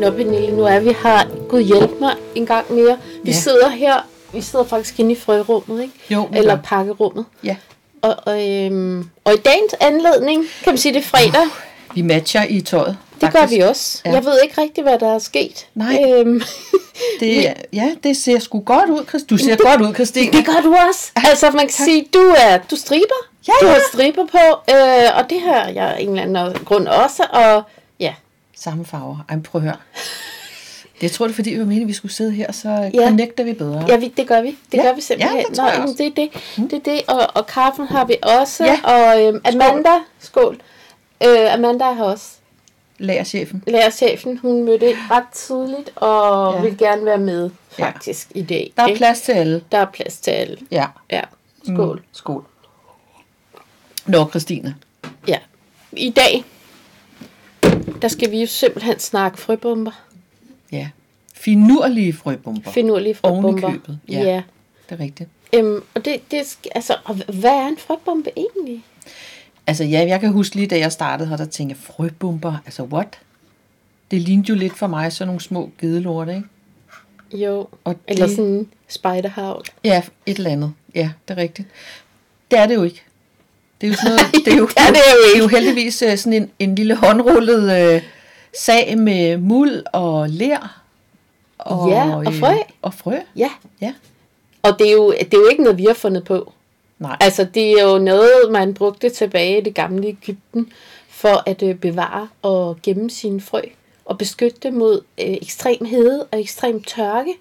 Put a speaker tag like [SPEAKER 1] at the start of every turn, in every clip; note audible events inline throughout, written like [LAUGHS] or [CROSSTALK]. [SPEAKER 1] Nå, Pernille, nu er vi her. Gud hjælp mig en gang mere. Vi ja.
[SPEAKER 2] Ja.
[SPEAKER 1] sidder her. Vi sidder faktisk inde i frørummet, ikke?
[SPEAKER 2] Jo, vi
[SPEAKER 1] Eller
[SPEAKER 2] gør.
[SPEAKER 1] pakkerummet.
[SPEAKER 2] Ja.
[SPEAKER 1] Og, og, øhm, og i dagens anledning, kan man sige, det er fredag.
[SPEAKER 2] Vi matcher i tøjet.
[SPEAKER 1] Det gør vi også.
[SPEAKER 2] Ah, Ja.
[SPEAKER 1] Ja. Jeg ved ikke rigtig, hvad der er sket.
[SPEAKER 2] Nej. [LAUGHS]
[SPEAKER 1] Øhm,
[SPEAKER 2] Det, er- ja, det ser sgu godt ud, Christine. Du ser godt ud, Christine.
[SPEAKER 1] det gør du også. Altså, man kan sige, du er du er striber.
[SPEAKER 2] Ja,
[SPEAKER 1] du
[SPEAKER 2] ja.
[SPEAKER 1] har striber på, øh, og det har jeg af en eller anden grund også. Og ja,
[SPEAKER 2] Samme farver. Ej, men prøv at høre. Jeg tror, det er fordi, vi var meningen, at vi skulle sidde her, så
[SPEAKER 1] Ja.
[SPEAKER 2] connecter vi bedre.
[SPEAKER 1] ja vi, det gør vi. Det
[SPEAKER 2] Ja.
[SPEAKER 1] gør vi simpelthen.
[SPEAKER 2] Ja, det tror jeg
[SPEAKER 1] men
[SPEAKER 2] også. Mm.
[SPEAKER 1] det, er det, det er det. Og, og kaffen har vi også.
[SPEAKER 2] Ja.
[SPEAKER 1] Og øhm, Amanda, skål. Øh, Amanda har også.
[SPEAKER 2] Lærerchefen.
[SPEAKER 1] Lærerchefen, hun mødte ind ret tidligt og
[SPEAKER 2] Ja.
[SPEAKER 1] ja. vil gerne være med
[SPEAKER 2] Ja.
[SPEAKER 1] faktisk i dag.
[SPEAKER 2] Der er
[SPEAKER 1] ikke?
[SPEAKER 2] plads til alle.
[SPEAKER 1] Der er plads til alle.
[SPEAKER 2] Ja.
[SPEAKER 1] Ja. Skål. Mm.
[SPEAKER 2] Skål. Nå, Christine.
[SPEAKER 1] Ja. I dag, der skal vi jo simpelthen snakke frøbomber.
[SPEAKER 2] Ja. Finurlige frøbomber.
[SPEAKER 1] Finurlige
[SPEAKER 2] Oven i
[SPEAKER 1] frøbomber.
[SPEAKER 2] købet, ja.
[SPEAKER 1] ja. ja.
[SPEAKER 2] det er rigtigt.
[SPEAKER 1] Øhm, og det, det skal, altså, og h- hvad er en frøbombe egentlig?
[SPEAKER 2] Altså ja, jeg kan huske lige da jeg startede her, der tænkte jeg, frøbomber, altså what? Det lignede jo lidt for mig sådan nogle små gedelorte, ikke?
[SPEAKER 1] Jo.
[SPEAKER 2] Og
[SPEAKER 1] Eller
[SPEAKER 2] det-
[SPEAKER 1] sådan en spejderhavl.
[SPEAKER 2] Ja, et eller andet. Ja, det er rigtigt. Det er det jo ikke. Det er jo sådan noget,
[SPEAKER 1] [LAUGHS]
[SPEAKER 2] det er jo,
[SPEAKER 1] det er det jo
[SPEAKER 2] det er jo heldigvis øh, sådan en, en lille håndrullet øh, sag med muld og ler. Og,
[SPEAKER 1] Ja, og
[SPEAKER 2] øh,
[SPEAKER 1] frø.
[SPEAKER 2] Og frø,
[SPEAKER 1] Ja.
[SPEAKER 2] ja.
[SPEAKER 1] Og det er, jo, det er jo ikke noget, vi har fundet på.
[SPEAKER 2] Nej,
[SPEAKER 1] Altså, det er jo noget, man brugte tilbage i det gamle Ægypten for at øh, bevare og gemme sine frø og beskytte dem mod øh, ekstrem hede og ekstrem tørke.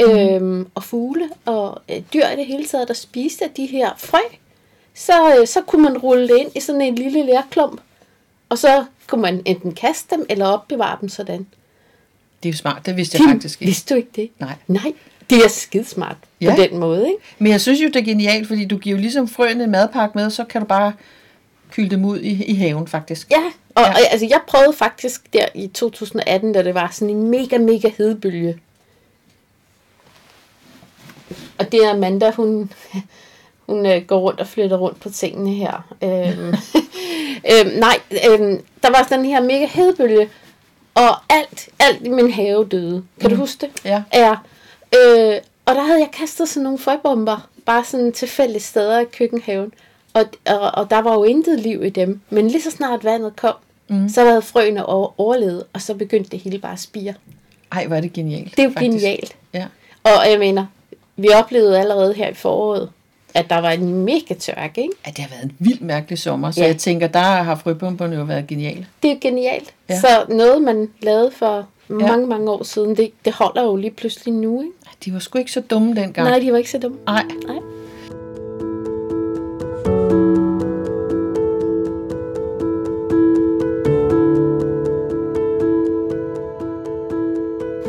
[SPEAKER 2] Mhm.
[SPEAKER 1] Øhm, og fugle og øh, dyr i det hele taget, der spiste af de her frø, så, øh, så kunne man rulle det ind i sådan en lille lærklump, og så kunne man enten kaste dem eller opbevare dem sådan.
[SPEAKER 2] det er jo smart, det vidste jeg faktisk ikke.
[SPEAKER 1] Vidste du ikke det?
[SPEAKER 2] Nej.
[SPEAKER 1] Nej, det er skidesmart
[SPEAKER 2] Ja.
[SPEAKER 1] på den måde, ikke?
[SPEAKER 2] Men jeg synes jo, det er genialt, fordi du giver jo ligesom frøene en madpakke med, så kan du bare kylde dem ud i, i haven faktisk.
[SPEAKER 1] Ja, og,
[SPEAKER 2] Ja.
[SPEAKER 1] ja. og altså, jeg prøvede faktisk der i 2018, da det var sådan en mega, mega hedebølge. Og det er Amanda, hun, hun øh, går rundt og flytter rundt på tingene her. Øhm, [LAUGHS] øhm, nej, øhm, der var sådan den her mega hedebølge, og alt, alt i min have døde. Kan mm. du huske det?
[SPEAKER 2] Ja.
[SPEAKER 1] Ja. Øh, og der havde jeg kastet sådan nogle frøbomber, bare sådan tilfældige steder i køkkenhaven. Og, og, og der var jo intet liv i dem. Men lige så snart vandet kom, mm. så havde frøene over, overlevet, og så begyndte det hele bare at spire.
[SPEAKER 2] Ej, hvor er det genialt.
[SPEAKER 1] Det er jo
[SPEAKER 2] faktisk.
[SPEAKER 1] genialt.
[SPEAKER 2] Ja.
[SPEAKER 1] Og jeg mener, vi oplevede allerede her i foråret, at der var en mega tørke, ikke?
[SPEAKER 2] Ja, det har været en vildt mærkelig sommer, så ja.
[SPEAKER 1] Ja.
[SPEAKER 2] jeg tænker, der har frøbomberne jo været geniale.
[SPEAKER 1] Det er genialt.
[SPEAKER 2] Ja.
[SPEAKER 1] Ja. Så noget, man lavede for mange, mange år siden, det, det holder jo lige pludselig nu, ikke?
[SPEAKER 2] Ej, De var sgu ikke så dumme dengang.
[SPEAKER 1] Nej, de var ikke så dumme.
[SPEAKER 2] Nej.
[SPEAKER 1] Nej.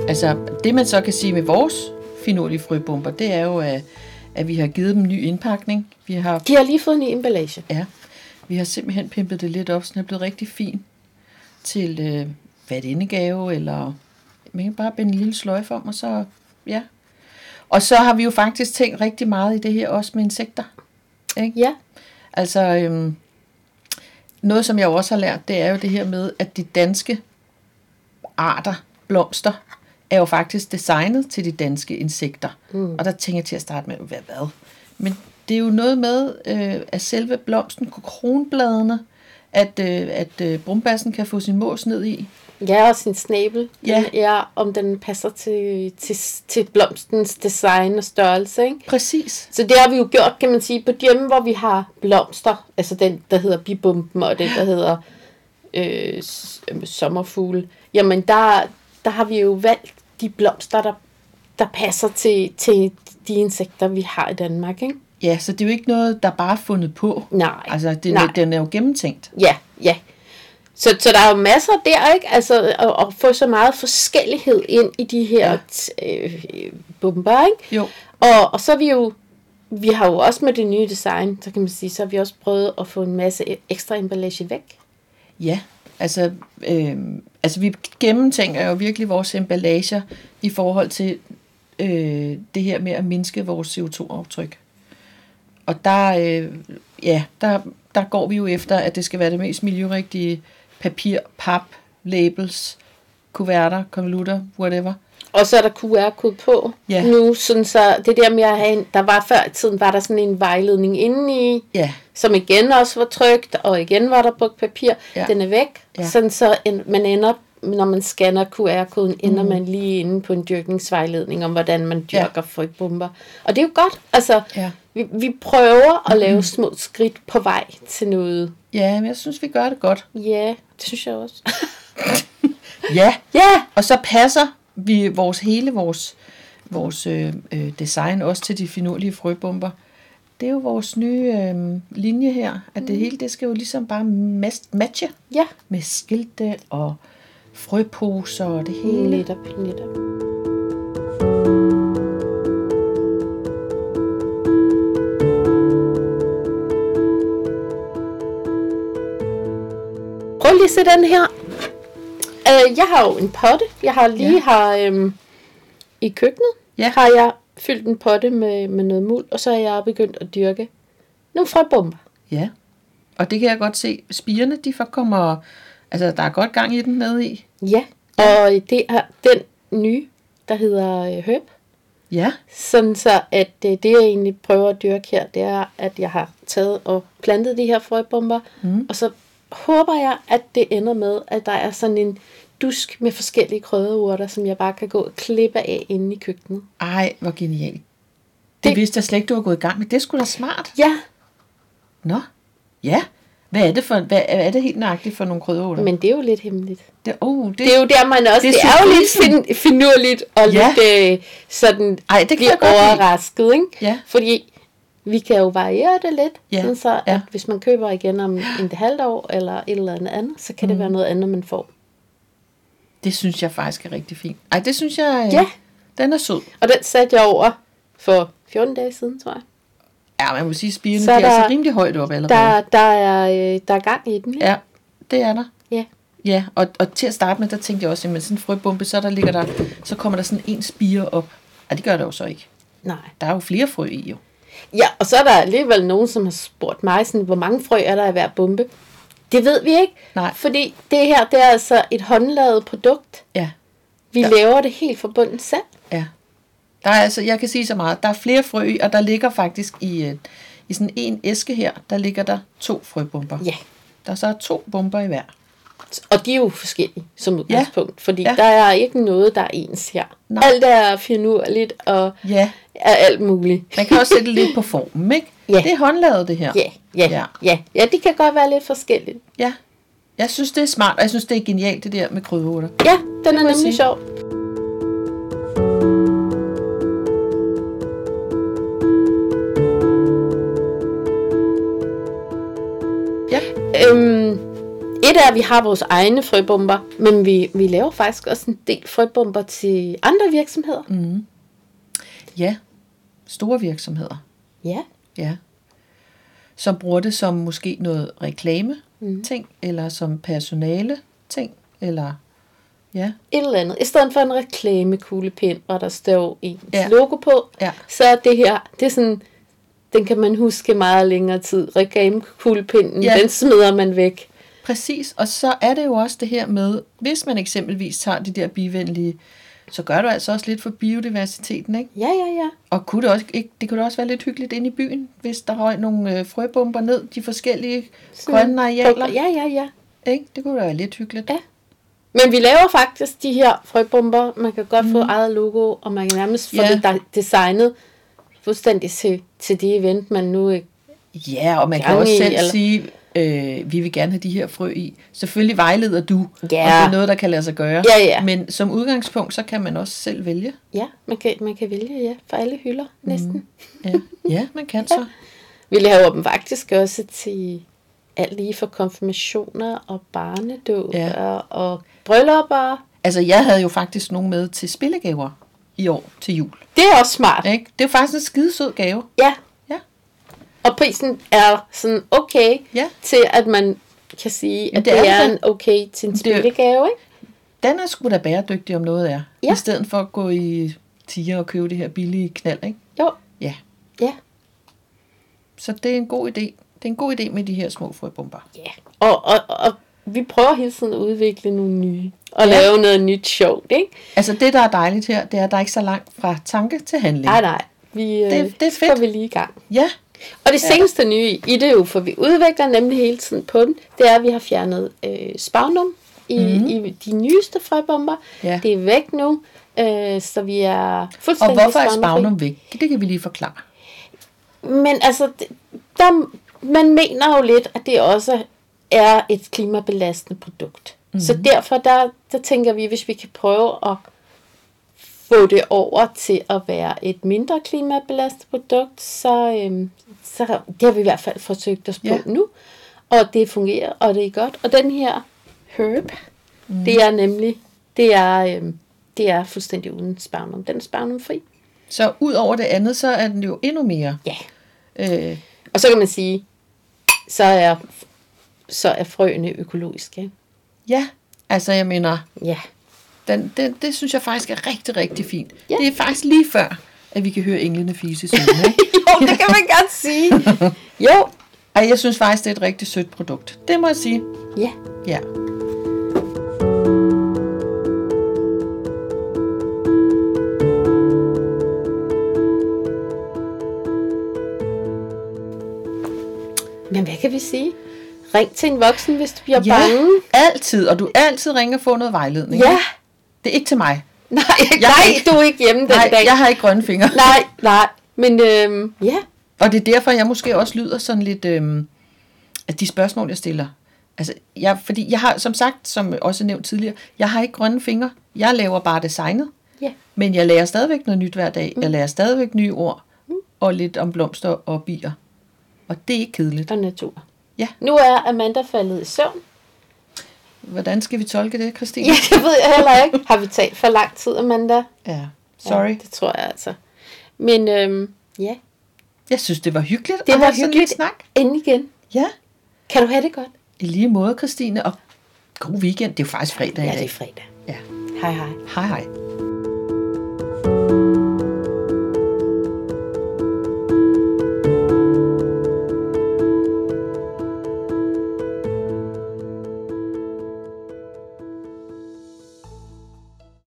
[SPEAKER 2] Altså, det man så kan sige med vores finurlige frøbomber, det er jo, at, at vi har givet dem ny indpakning. Vi har,
[SPEAKER 1] De har lige fået en ny emballage.
[SPEAKER 2] ja, vi har simpelthen pimpet det lidt op, så den er blevet rigtig fin til øh, hvad er det, indegave, eller man kan bare binde en lille sløjfe om, og så, ja. Og så har vi jo faktisk tænkt rigtig meget i det her, også med insekter. Ikke?
[SPEAKER 1] Ja,
[SPEAKER 2] Altså, øhm, noget som jeg jo også har lært, det er jo det her med, at de danske arter, blomster, er jo faktisk designet til de danske insekter. Mm. Og der tænker jeg til at starte med, hvad hvad? Men det er jo noget med, øh, at selve blomsten, kronbladene, at, øh, at øh, brumbassen kan få sin mås ned i.
[SPEAKER 1] Ja, og sin snabel.
[SPEAKER 2] Ja.
[SPEAKER 1] Den er, om den passer til, til, til blomstens design og størrelse. Ikke?
[SPEAKER 2] Præcis.
[SPEAKER 1] Så det har vi jo gjort, kan man sige, på hjemme, hvor vi har blomster. Altså den, der hedder bibomben, og den, der hedder øh, s- øh, sommerfugle. Jamen, der, der har vi jo valgt de blomster, der, der passer til, til de insekter, vi har i Danmark. Ikke?
[SPEAKER 2] Ja, så det er jo ikke noget, der bare er fundet på.
[SPEAKER 1] Nej.
[SPEAKER 2] Altså, det,
[SPEAKER 1] Nej.
[SPEAKER 2] den er jo gennemtænkt.
[SPEAKER 1] Ja, ja. Så, så der er jo masser der, ikke? Altså, at, at få så meget forskellighed ind i de her ja. øh, bomber, ikke?
[SPEAKER 2] Jo.
[SPEAKER 1] Og, og så er vi jo, vi har jo også med det nye design, så kan man sige, så har vi også prøvet at få en masse e- ekstra emballage væk.
[SPEAKER 2] Ja, altså, øh, altså vi gennemtænker jo virkelig vores emballager i forhold til øh, det her med at mindske vores CO2-aftryk. Og der, øh, ja, der, der går vi jo efter, at det skal være det mest miljørigtige papir, pap, labels, kuverter, konvolutter, whatever.
[SPEAKER 1] Og så er der QR-kode på
[SPEAKER 2] Ja.
[SPEAKER 1] nu, sådan så det der med at have en, der var før i tiden, var der sådan en vejledning indeni,
[SPEAKER 2] Ja,
[SPEAKER 1] som igen også var trygt, og igen var der brugt papir.
[SPEAKER 2] Ja.
[SPEAKER 1] Ja. Den er væk,
[SPEAKER 2] Ja.
[SPEAKER 1] ja. sådan så en, man ender, når man scanner QR-koden, ender man lige inde på en dyrkningsvejledning om, hvordan man
[SPEAKER 2] Mm. Ja.
[SPEAKER 1] dyrker ja. frøbomber. Og det er jo godt, altså
[SPEAKER 2] Ja. Mm.
[SPEAKER 1] vi, vi prøver at lave små skridt på vej til noget.
[SPEAKER 2] ja men jeg synes, vi gør det godt.
[SPEAKER 1] Ja, det synes jeg også.
[SPEAKER 2] Ja,
[SPEAKER 1] [LAUGHS] ja!
[SPEAKER 2] og så passer vi vores hele vores, vores øh, øh, design også til de finurlige frøbomber. Det er jo vores nye øh, linje her, at det hele det skal jo ligesom bare mas- matche
[SPEAKER 1] Ja,
[SPEAKER 2] med skilte og frøposer og det hele.
[SPEAKER 1] netop, netop. Prøv lige at se den her. Øh, jeg har jo en potte. Jeg har lige
[SPEAKER 2] Ja.
[SPEAKER 1] ja. har, øhm, i køkkenet,
[SPEAKER 2] Ja.
[SPEAKER 1] har jeg fyldt en potte med, med noget muld, og så er jeg begyndt at dyrke nogle frøbomber.
[SPEAKER 2] Ja, og det kan jeg godt se. Spirene, de får- kommer... Altså, der er godt gang i den nede i.
[SPEAKER 1] Ja, og det er den nye, der hedder øh, Høb.
[SPEAKER 2] Ja,
[SPEAKER 1] Sådan så, at øh, det jeg egentlig prøver at dyrke her, det er, at jeg har taget og plantet de her frøbomber, mm. og så håber jeg, at det ender med, at der er sådan en dusk med forskellige krydderurter, som jeg bare kan gå og klippe af inde i køkkenet.
[SPEAKER 2] ej, hvor genialt. Det, det
[SPEAKER 1] Det-
[SPEAKER 2] vidste jeg slet ikke, du var gået i gang med. Det skulle da smart.
[SPEAKER 1] Ja,
[SPEAKER 2] Nå, ja. Hvad er det, for, hvad er det helt nøjagtigt for nogle krydderurter?
[SPEAKER 1] men det er jo lidt hemmeligt.
[SPEAKER 2] det, oh, det,
[SPEAKER 1] Det er jo der, man også,
[SPEAKER 2] Det er
[SPEAKER 1] det, det er jo lidt
[SPEAKER 2] surprisen.
[SPEAKER 1] fin, finurligt og
[SPEAKER 2] Ja.
[SPEAKER 1] ja. lidt øh, sådan
[SPEAKER 2] Ej, det kan
[SPEAKER 1] bliver
[SPEAKER 2] jeg godt lide.
[SPEAKER 1] overrasket, ikke?
[SPEAKER 2] Ja.
[SPEAKER 1] Fordi vi kan jo variere det lidt,
[SPEAKER 2] Ja,
[SPEAKER 1] sådan så at
[SPEAKER 2] ja.
[SPEAKER 1] hvis man køber igen om en halvt år eller et eller andet andet, så kan mm. det være noget andet, man får.
[SPEAKER 2] det synes jeg faktisk er rigtig fint. Ej, det synes jeg... øh,
[SPEAKER 1] Ja.
[SPEAKER 2] Den er sød.
[SPEAKER 1] Og den satte jeg over for 14 dage siden, tror jeg.
[SPEAKER 2] Ja, man må sige, at
[SPEAKER 1] Så
[SPEAKER 2] spirene bliver
[SPEAKER 1] er
[SPEAKER 2] altså
[SPEAKER 1] der-
[SPEAKER 2] rimelig højt op allerede.
[SPEAKER 1] Der, der, er, øh, der er gang i den, ikke?
[SPEAKER 2] Ja, det er der.
[SPEAKER 1] ja.
[SPEAKER 2] Ja, og, og til at starte med, der tænkte jeg også, at sådan en frøbombe, så, der ligger der, så kommer der sådan en spire op. Ja, det gør der jo så ikke.
[SPEAKER 1] Nej.
[SPEAKER 2] Der er jo flere frø i jo.
[SPEAKER 1] Ja, og så er der alligevel nogen, som har spurgt mig, sådan, hvor mange frø er der i hver bombe? Det ved vi ikke,
[SPEAKER 2] Nej.
[SPEAKER 1] fordi det her det er altså et håndlavet produkt.
[SPEAKER 2] Ja,
[SPEAKER 1] Vi
[SPEAKER 2] Ja.
[SPEAKER 1] ja. laver det helt fra bunden selv.
[SPEAKER 2] ja. Der er altså, jeg kan sige så meget, der er flere frø i, og der ligger faktisk i, øh, i sådan en æske her, der ligger der to frøbomber.
[SPEAKER 1] Ja.
[SPEAKER 2] Der så er to bomber i hver.
[SPEAKER 1] Og de er jo forskellige som udgangspunkt, ja. fordi
[SPEAKER 2] Ja.
[SPEAKER 1] ja. der er ikke noget, der er ens her.
[SPEAKER 2] Nej.
[SPEAKER 1] Nej. Alt er finurligt og
[SPEAKER 2] Ja,
[SPEAKER 1] er alt muligt.
[SPEAKER 2] man kan også sætte det lidt på formen, ikke?
[SPEAKER 1] Ja.
[SPEAKER 2] Det er håndlavet det her.
[SPEAKER 1] Ja, ja,
[SPEAKER 2] Ja.
[SPEAKER 1] ja, ja. Ja, de kan godt være lidt forskellige.
[SPEAKER 2] ja. Jeg synes, det er smart, og jeg synes, det er genialt, det der med krydderurter.
[SPEAKER 1] Ja, den er
[SPEAKER 2] må jeg
[SPEAKER 1] nemlig
[SPEAKER 2] sige.
[SPEAKER 1] sjov.
[SPEAKER 2] Ja.
[SPEAKER 1] Øhm, et er, at vi har vores egne frøbomber, men vi, vi laver faktisk også en del frøbomber til andre virksomheder. Mm.
[SPEAKER 2] Ja, store virksomheder.
[SPEAKER 1] Ja,
[SPEAKER 2] Ja. Som bruger det som måske noget reklame
[SPEAKER 1] Mhm.
[SPEAKER 2] ting, eller som personale ting, eller ja,
[SPEAKER 1] et eller andet. I stedet for en reklamekuglepind, hvor der står ens
[SPEAKER 2] Ja.
[SPEAKER 1] ja. logo på,
[SPEAKER 2] Ja.
[SPEAKER 1] så er det her, det er sådan, den kan man huske meget længere tid. Reklamekuglepinden,
[SPEAKER 2] Ja.
[SPEAKER 1] ja. den smider man væk.
[SPEAKER 2] præcis. Og så er det jo også det her med, hvis man eksempelvis tager de der bivenlige, så gør du altså også lidt for biodiversiteten, ikke?
[SPEAKER 1] Ja, ja, ja.
[SPEAKER 2] Og kunne det, også, ikke, det kunne da også være lidt hyggeligt inde i byen, hvis der røg nogle øh, frøbomber ned, de forskellige grønne arealer.
[SPEAKER 1] Ja, ja, ja.
[SPEAKER 2] Ikke? Det kunne da være lidt hyggeligt.
[SPEAKER 1] Ja. Men vi laver faktisk de her frøbomber. Man kan godt mm. få eget logo, og man kan nærmest få
[SPEAKER 2] Ja.
[SPEAKER 1] yeah. det der- designet fuldstændig til, til det event, man nu øh, ikke...
[SPEAKER 2] Ja, og man kan
[SPEAKER 1] Gang
[SPEAKER 2] også
[SPEAKER 1] i,
[SPEAKER 2] selv eller?
[SPEAKER 1] eller-
[SPEAKER 2] sige, øh, vi vil gerne have de her frø i. Selvfølgelig vejleder du,
[SPEAKER 1] Ja.
[SPEAKER 2] om det er noget, der kan lade sig gøre.
[SPEAKER 1] Ja, ja.
[SPEAKER 2] Men som udgangspunkt, så kan man også selv vælge.
[SPEAKER 1] Ja, man kan, man kan vælge ja, for alle hylder næsten. Mm. [LAUGHS]
[SPEAKER 2] Ja, ja man kan så.
[SPEAKER 1] Vi laver dem faktisk også til alt lige fra konfirmationer og barnedåb
[SPEAKER 2] Ja.
[SPEAKER 1] ja. og, og bryllupper.
[SPEAKER 2] Altså, jeg havde jo faktisk nogen med til spillegaver i år til jul.
[SPEAKER 1] Det er også smart.
[SPEAKER 2] Ikke? Det er jo faktisk en skidesød gave.
[SPEAKER 1] Ja.
[SPEAKER 2] Ja.
[SPEAKER 1] Og prisen er sådan okay
[SPEAKER 2] Ja.
[SPEAKER 1] til, at man kan sige,
[SPEAKER 2] Jamen,
[SPEAKER 1] at det
[SPEAKER 2] det er
[SPEAKER 1] er, det er
[SPEAKER 2] altså-
[SPEAKER 1] en okay til en
[SPEAKER 2] Det er-
[SPEAKER 1] spillegave, ikke?
[SPEAKER 2] Den er sgu da bæredygtig, om noget er.
[SPEAKER 1] Ja.
[SPEAKER 2] I stedet for at gå i tiger og købe det her billige knald, ikke?
[SPEAKER 1] Jo,
[SPEAKER 2] Ja.
[SPEAKER 1] ja.
[SPEAKER 2] Så det er en god idé. Det er en god idé med de her små frøbomber.
[SPEAKER 1] Ja, og, og, og vi prøver hele tiden at udvikle nogle nye. og ja. lave noget nyt sjovt, ikke?
[SPEAKER 2] Altså det, der er dejligt her, det er, at der er ikke så langt fra tanke til handling.
[SPEAKER 1] Nej, nej. Vi, øh,
[SPEAKER 2] Det- det er
[SPEAKER 1] så
[SPEAKER 2] fedt.
[SPEAKER 1] går vi lige i gang.
[SPEAKER 2] Ja,
[SPEAKER 1] Og det seneste nye i i det jo, for vi udvikler nemlig hele tiden på den, det er, at vi har fjernet øh, spagnum i, mm. i de nyeste frøbomber.
[SPEAKER 2] Mhm. Ja.
[SPEAKER 1] Det er væk nu, øh, så vi er
[SPEAKER 2] og
[SPEAKER 1] fuldstændig
[SPEAKER 2] hvorfor er
[SPEAKER 1] spagnumfri.
[SPEAKER 2] spagnum væk? Det kan vi lige forklare.
[SPEAKER 1] Men altså, det- der, man mener jo lidt, at det også er et klimabelastende produkt. Mm-hmm. Så derfor, der, der tænker vi, hvis vi kan prøve at få det over til at være et mindre klimabelastende produkt, så, øhm, så det har vi i hvert fald forsøgt os på
[SPEAKER 2] Ja.
[SPEAKER 1] ja. nu. Og det fungerer, og det er godt. Og den her herb, mm. det er nemlig, det er, øhm, det er fuldstændig uden spagnum. Den er spagnumfri.
[SPEAKER 2] Så ud over det andet, så er den jo endnu mere.
[SPEAKER 1] Ja.
[SPEAKER 2] Øh,
[SPEAKER 1] Og så kan man sige, så er, så er frøene økologiske.
[SPEAKER 2] ja, altså jeg mener,
[SPEAKER 1] Ja.
[SPEAKER 2] den, den, det synes jeg faktisk er rigtig, rigtig fint.
[SPEAKER 1] Ja.
[SPEAKER 2] Det er faktisk lige før, at vi kan høre englene fise i søvne,
[SPEAKER 1] [LAUGHS]
[SPEAKER 2] ikke?
[SPEAKER 1] [LAUGHS] jo, det kan man godt sige. Jo.
[SPEAKER 2] Ej, jeg synes faktisk, det er et rigtig sødt produkt. Det må jeg sige.
[SPEAKER 1] Ja.
[SPEAKER 2] Ja.
[SPEAKER 1] Men hvad kan vi sige? Ring til en voksen, hvis du bliver
[SPEAKER 2] ja.
[SPEAKER 1] bange.
[SPEAKER 2] Altid, og du altid ringer og får noget vejledning.
[SPEAKER 1] Ja.
[SPEAKER 2] ikke? Det er ikke til mig.
[SPEAKER 1] Nej,
[SPEAKER 2] Jeg
[SPEAKER 1] nej,
[SPEAKER 2] er ikke-
[SPEAKER 1] du er ikke hjemme den
[SPEAKER 2] Nej,
[SPEAKER 1] dag.
[SPEAKER 2] jeg har ikke grønne fingre.
[SPEAKER 1] Nej, nej. Men øhm, ja,
[SPEAKER 2] Og det er derfor, jeg måske også lyder sådan lidt, øhm, at de spørgsmål, jeg stiller. Altså, jeg, fordi jeg har, som sagt, som også nævnt tidligere, jeg har ikke grønne fingre. Jeg laver bare designet.
[SPEAKER 1] ja. Mm.
[SPEAKER 2] Men jeg lærer stadigvæk noget nyt hver dag. Jeg lærer stadigvæk nye ord. Og lidt om blomster og bier. Og det er ikke kedeligt.
[SPEAKER 1] Og natur.
[SPEAKER 2] Ja.
[SPEAKER 1] Nu er Amanda faldet i søvn.
[SPEAKER 2] Hvordan skal vi tolke det, Christine?
[SPEAKER 1] Ja, [LAUGHS] det ved jeg heller ikke. Har vi talt for lang tid, Amanda?
[SPEAKER 2] ja. Sorry.
[SPEAKER 1] Ja, det tror jeg altså. Men øhm, ja,
[SPEAKER 2] Jeg synes, det var hyggeligt.
[SPEAKER 1] det
[SPEAKER 2] at
[SPEAKER 1] var
[SPEAKER 2] have sådan lidt
[SPEAKER 1] hyggeligt.
[SPEAKER 2] snak.
[SPEAKER 1] End igen.
[SPEAKER 2] Ja.
[SPEAKER 1] Kan du have det godt?
[SPEAKER 2] I lige måde, Christine. Og god weekend. Det er jo faktisk fredag i
[SPEAKER 1] Ja, det er
[SPEAKER 2] dag.
[SPEAKER 1] fredag.
[SPEAKER 2] Ja.
[SPEAKER 1] Hej hej.
[SPEAKER 2] Hej hej.